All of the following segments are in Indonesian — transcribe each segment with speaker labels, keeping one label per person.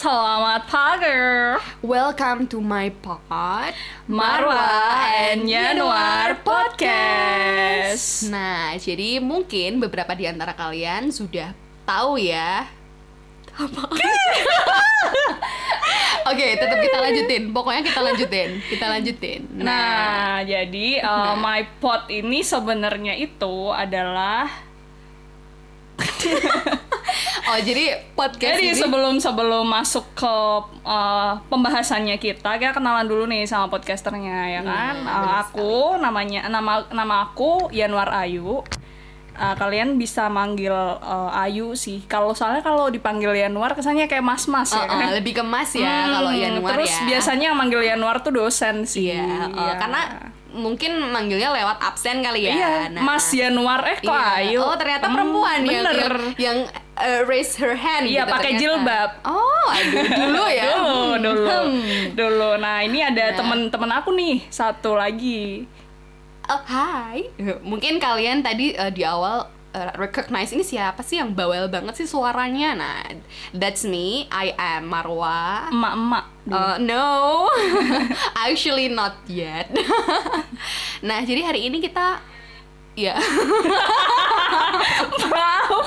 Speaker 1: Selamat pagi.
Speaker 2: Welcome to my pod
Speaker 1: Marwa and Yanuar Podcast.
Speaker 2: Nah, jadi mungkin beberapa di antara kalian sudah tahu ya apa. Oke, tetap kita lanjutin. Pokoknya kita lanjutin. Kita lanjutin.
Speaker 1: Nah, jadi uh, my pot ini sebenarnya itu adalah
Speaker 2: oh jadi
Speaker 1: Nah,
Speaker 2: podcast
Speaker 1: jadi
Speaker 2: ini
Speaker 1: sebelum sebelum masuk ke uh, pembahasannya kita kita kenalan dulu nih sama podcasternya ya kan.
Speaker 2: Iya,
Speaker 1: Uh,
Speaker 2: benar
Speaker 1: aku namanya nama nama aku Yanuar Ayu. Uh, kalian bisa manggil uh, Ayu sih. Kalau soalnya kalau dipanggil Yanuar kesannya kayak mas-mas
Speaker 2: Oh,
Speaker 1: ya kan.
Speaker 2: oh, lebih kemas ya
Speaker 1: Hmm,
Speaker 2: kalau Yanuar
Speaker 1: terus
Speaker 2: ya.
Speaker 1: biasanya yang manggil Yanuar tuh dosen sih.
Speaker 2: Iya, oh,
Speaker 1: Iya.
Speaker 2: karena mungkin manggilnya lewat absen kali ya.
Speaker 1: iya,
Speaker 2: Nah,
Speaker 1: Mas Yanuar eh kok
Speaker 2: Iya.
Speaker 1: Ayu.
Speaker 2: Oh ternyata
Speaker 1: Hmm,
Speaker 2: perempuan ya, yang
Speaker 1: bener.
Speaker 2: yang, yang, uh, raise her hand.
Speaker 1: Iya,
Speaker 2: gitu
Speaker 1: pakai
Speaker 2: ternyata.
Speaker 1: jilbab.
Speaker 2: Oh aduh dulu ya.
Speaker 1: Dulu,
Speaker 2: Hmm.
Speaker 1: dulu,
Speaker 2: Hmm.
Speaker 1: dulu. Nah ini ada
Speaker 2: Nah.
Speaker 1: temen-temen aku nih satu lagi.
Speaker 2: Oh, hai. Mungkin kalian tadi uh, di awal uh, recognize ini siapa sih yang bawel banget sih suaranya? Nah, that's me. I am Marwa.
Speaker 1: Emak-emak.
Speaker 2: Uh, no, actually not yet. nah, jadi hari ini kita, ya.
Speaker 1: maaf,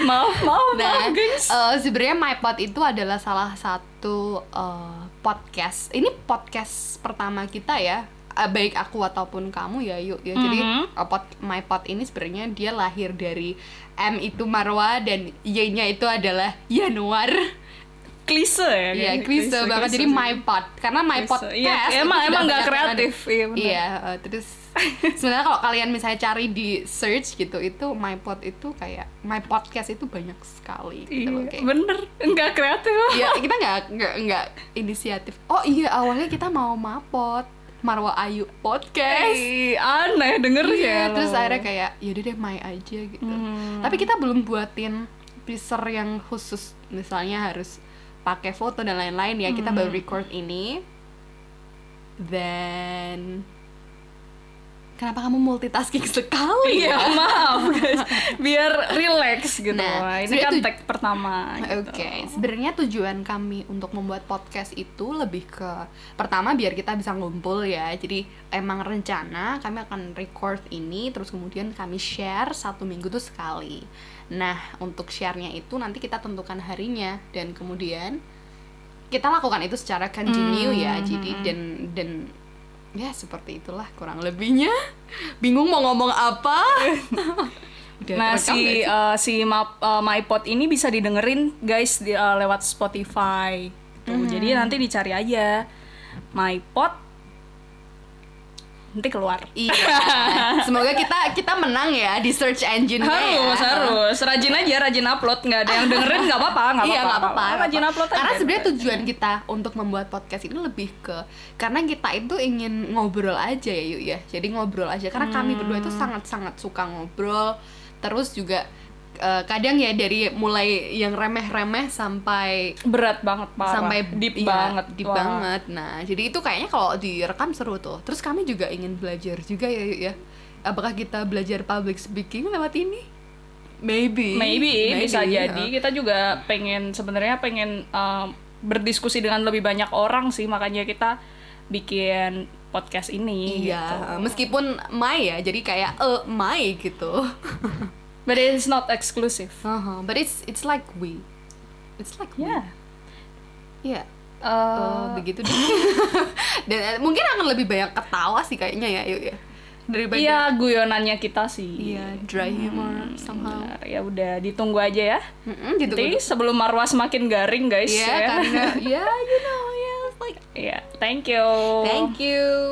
Speaker 1: maaf, maaf, maaf,
Speaker 2: Ah. Nah,
Speaker 1: gengs.
Speaker 2: eh, sebenarnya My Pod itu adalah salah satu eh, podcast. Ini podcast pertama kita ya. Eh, baik aku ataupun kamu ya, yuk ya. Jadi
Speaker 1: Mhm.
Speaker 2: eh, pod- My Pod ini sebenarnya dia lahir dari M itu Marwa dan Y-nya itu adalah Januar.
Speaker 1: Klise ya.
Speaker 2: Iya,
Speaker 1: kan?
Speaker 2: klise banget. Jadi My Pod karena My
Speaker 1: Klise.
Speaker 2: Podcast
Speaker 1: Iya, emang
Speaker 2: itu
Speaker 1: emang
Speaker 2: sudah
Speaker 1: nggak
Speaker 2: banyak yang ada.
Speaker 1: kreatif. Iya, benar.
Speaker 2: Iya, eh, terus sebenarnya kalau kalian misalnya cari di search gitu itu my pod itu kayak my podcast itu banyak sekali gitu loh
Speaker 1: Iya,
Speaker 2: kayak
Speaker 1: bener. Nggak kreatif.
Speaker 2: ya kita nggak nggak nggak inisiatif oh iya awalnya kita mau mapot Marwa Ayu podcast
Speaker 1: Ih, aneh denger
Speaker 2: Iya,
Speaker 1: Eh, ya.
Speaker 2: terus
Speaker 1: lo.
Speaker 2: akhirnya kayak yaudah deh my aja gitu
Speaker 1: Hmm.
Speaker 2: tapi kita belum buatin teaser yang khusus misalnya harus pakai foto dan lain-lain ya kita
Speaker 1: Hmm.
Speaker 2: baru record ini then kenapa kamu multitasking sekali
Speaker 1: Iya,
Speaker 2: ya
Speaker 1: maaf guys. Biar relax gitu.
Speaker 2: Nah,
Speaker 1: Wah, ini
Speaker 2: sebenarnya
Speaker 1: kan
Speaker 2: tuj-
Speaker 1: tag pertama gitu.
Speaker 2: Oke, sebenarnya tujuan kami untuk membuat podcast itu lebih ke pertama biar kita bisa ngumpul ya. Jadi emang rencana kami akan record ini terus kemudian kami share satu minggu tuh sekali. Nah, untuk share-nya itu nanti kita tentukan harinya dan kemudian kita lakukan itu secara continue ya. Jadi dan dan ya seperti itulah kurang lebihnya. Bingung mau ngomong apa? Udah
Speaker 1: Nah,
Speaker 2: terekam nggak
Speaker 1: si
Speaker 2: sih?
Speaker 1: eh, si Ma- eh, MyPod ini bisa didengerin guys di- eh, lewat Spotify. Tuh,
Speaker 2: Hmm.
Speaker 1: jadi nanti dicari aja MyPod nanti keluar.
Speaker 2: Iya. Semoga kita kita menang ya di search engine
Speaker 1: Harus,
Speaker 2: ya.
Speaker 1: harus. Rajin aja, rajin upload. Nggak ada yang dengerin, nggak apa-apa, nggak
Speaker 2: Iya, nggak apa-apa. nggak
Speaker 1: Rajin
Speaker 2: apa-apa.
Speaker 1: upload aja.
Speaker 2: Karena sebenarnya tujuan kita untuk membuat podcast ini lebih ke karena kita itu ingin ngobrol aja ya, yuk ya. Jadi ngobrol aja karena kami
Speaker 1: Hmm.
Speaker 2: berdua itu sangat-sangat suka ngobrol. Terus juga eh, kadang ya dari mulai yang remeh-remeh sampai
Speaker 1: berat banget, parah.
Speaker 2: sampai
Speaker 1: deep
Speaker 2: iya,
Speaker 1: banget,
Speaker 2: deep
Speaker 1: Wah.
Speaker 2: banget. Nah, jadi itu kayaknya kalau direkam seru tuh. Terus kami juga ingin belajar juga ya Yuk, ya. Apakah kita belajar public speaking lewat ini? Maybe.
Speaker 1: Maybe, bisa
Speaker 2: Maybe, ya.
Speaker 1: jadi kita juga pengen sebenarnya pengen um, berdiskusi dengan lebih banyak orang sih makanya kita bikin podcast ini. gitu.
Speaker 2: Iya, meskipun my ya, jadi kayak eh my gitu.
Speaker 1: But it's not exclusive.
Speaker 2: Haha, But it's it's like we. It's like we.
Speaker 1: Yeah.
Speaker 2: Iya. Eh,
Speaker 1: Uh,
Speaker 2: begitu deh. Dan eh, mungkin akan lebih banyak ketawa sih kayaknya ya, yuk ya. Daripada
Speaker 1: iya guyonannya kita sih.
Speaker 2: Iya, dry humor somehow.
Speaker 1: Benar. Ya udah ditunggu aja ya.
Speaker 2: Mm-mm, gitu.
Speaker 1: Nanti sebelum Marwa semakin garing guys
Speaker 2: Iya,
Speaker 1: ya.
Speaker 2: karena ya you know, ya it's like
Speaker 1: Iya, thank you.
Speaker 2: thank you.